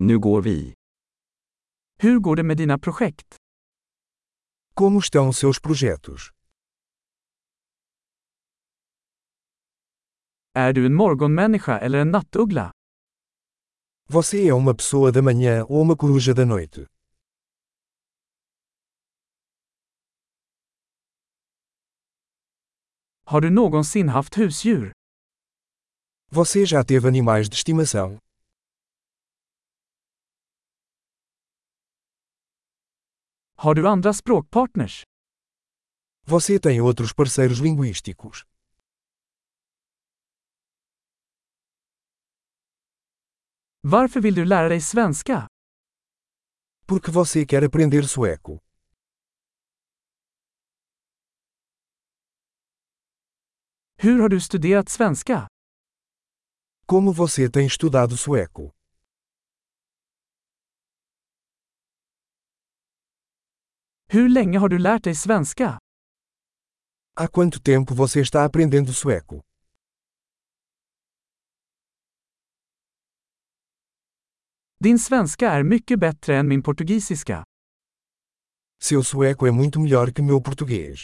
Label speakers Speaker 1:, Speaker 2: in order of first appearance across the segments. Speaker 1: Nu går vi.
Speaker 2: Hur går det med dina projekt?
Speaker 3: Como estão seus projetos?
Speaker 2: Är du en morgonmänniska eller en nattuggla?
Speaker 3: Você é uma pessoa da manhã ou uma coruja da noite?
Speaker 2: Har du någonsin haft husdjur?
Speaker 3: Você já teve animais de estimação?
Speaker 2: Har du andra språkpartners?
Speaker 3: Você tem outros parceiros linguísticos?
Speaker 2: Varför vill du lära dig svenska?
Speaker 3: Porque você quer aprender sueco?
Speaker 2: Hur har du studerat svenska?
Speaker 3: Como você tem estudado sueco?
Speaker 2: Hur länge har du lärt dig svenska?
Speaker 3: Há quanto tempo você está aprendendo sueco?
Speaker 2: Din svenska är mycket bättre än min portugisiska.
Speaker 3: Seu sueco é muito melhor que meu português.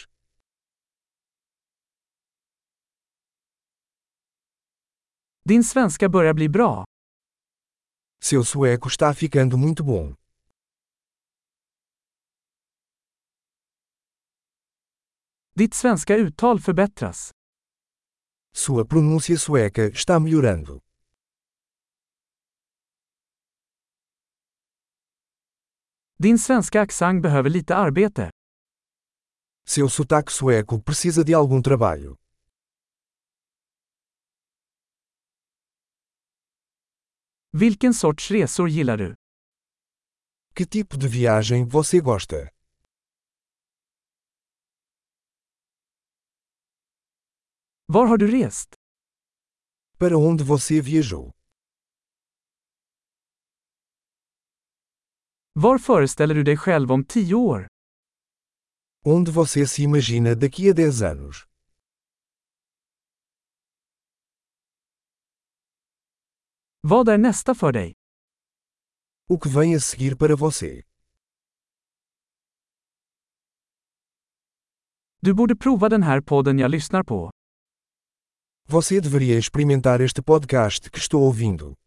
Speaker 2: Din svenska börjar bli bra.
Speaker 3: Seu sueco está ficando muito bom.
Speaker 2: Ditt svenska uttal förbättras.
Speaker 3: Sua pronúncia sueca está melhorando.
Speaker 2: Din svenska accent behöver lite arbete.
Speaker 3: Seu sotaque sueco precisa de algum trabalho.
Speaker 2: Vilken sorts resor gillar du?
Speaker 3: Que tipo de viagem você gosta?
Speaker 2: Var har du rest?
Speaker 3: Para onde você viajou?
Speaker 2: Var föreställer du dig själv om tio år?
Speaker 3: Onde você se imagina daqui a 10 anos?
Speaker 2: Vad är nästa för dig?
Speaker 3: O que vem a seguir para você?
Speaker 2: Du borde prova den här podden jag lyssnar på.
Speaker 3: Você deveria experimentar este podcast que estou ouvindo.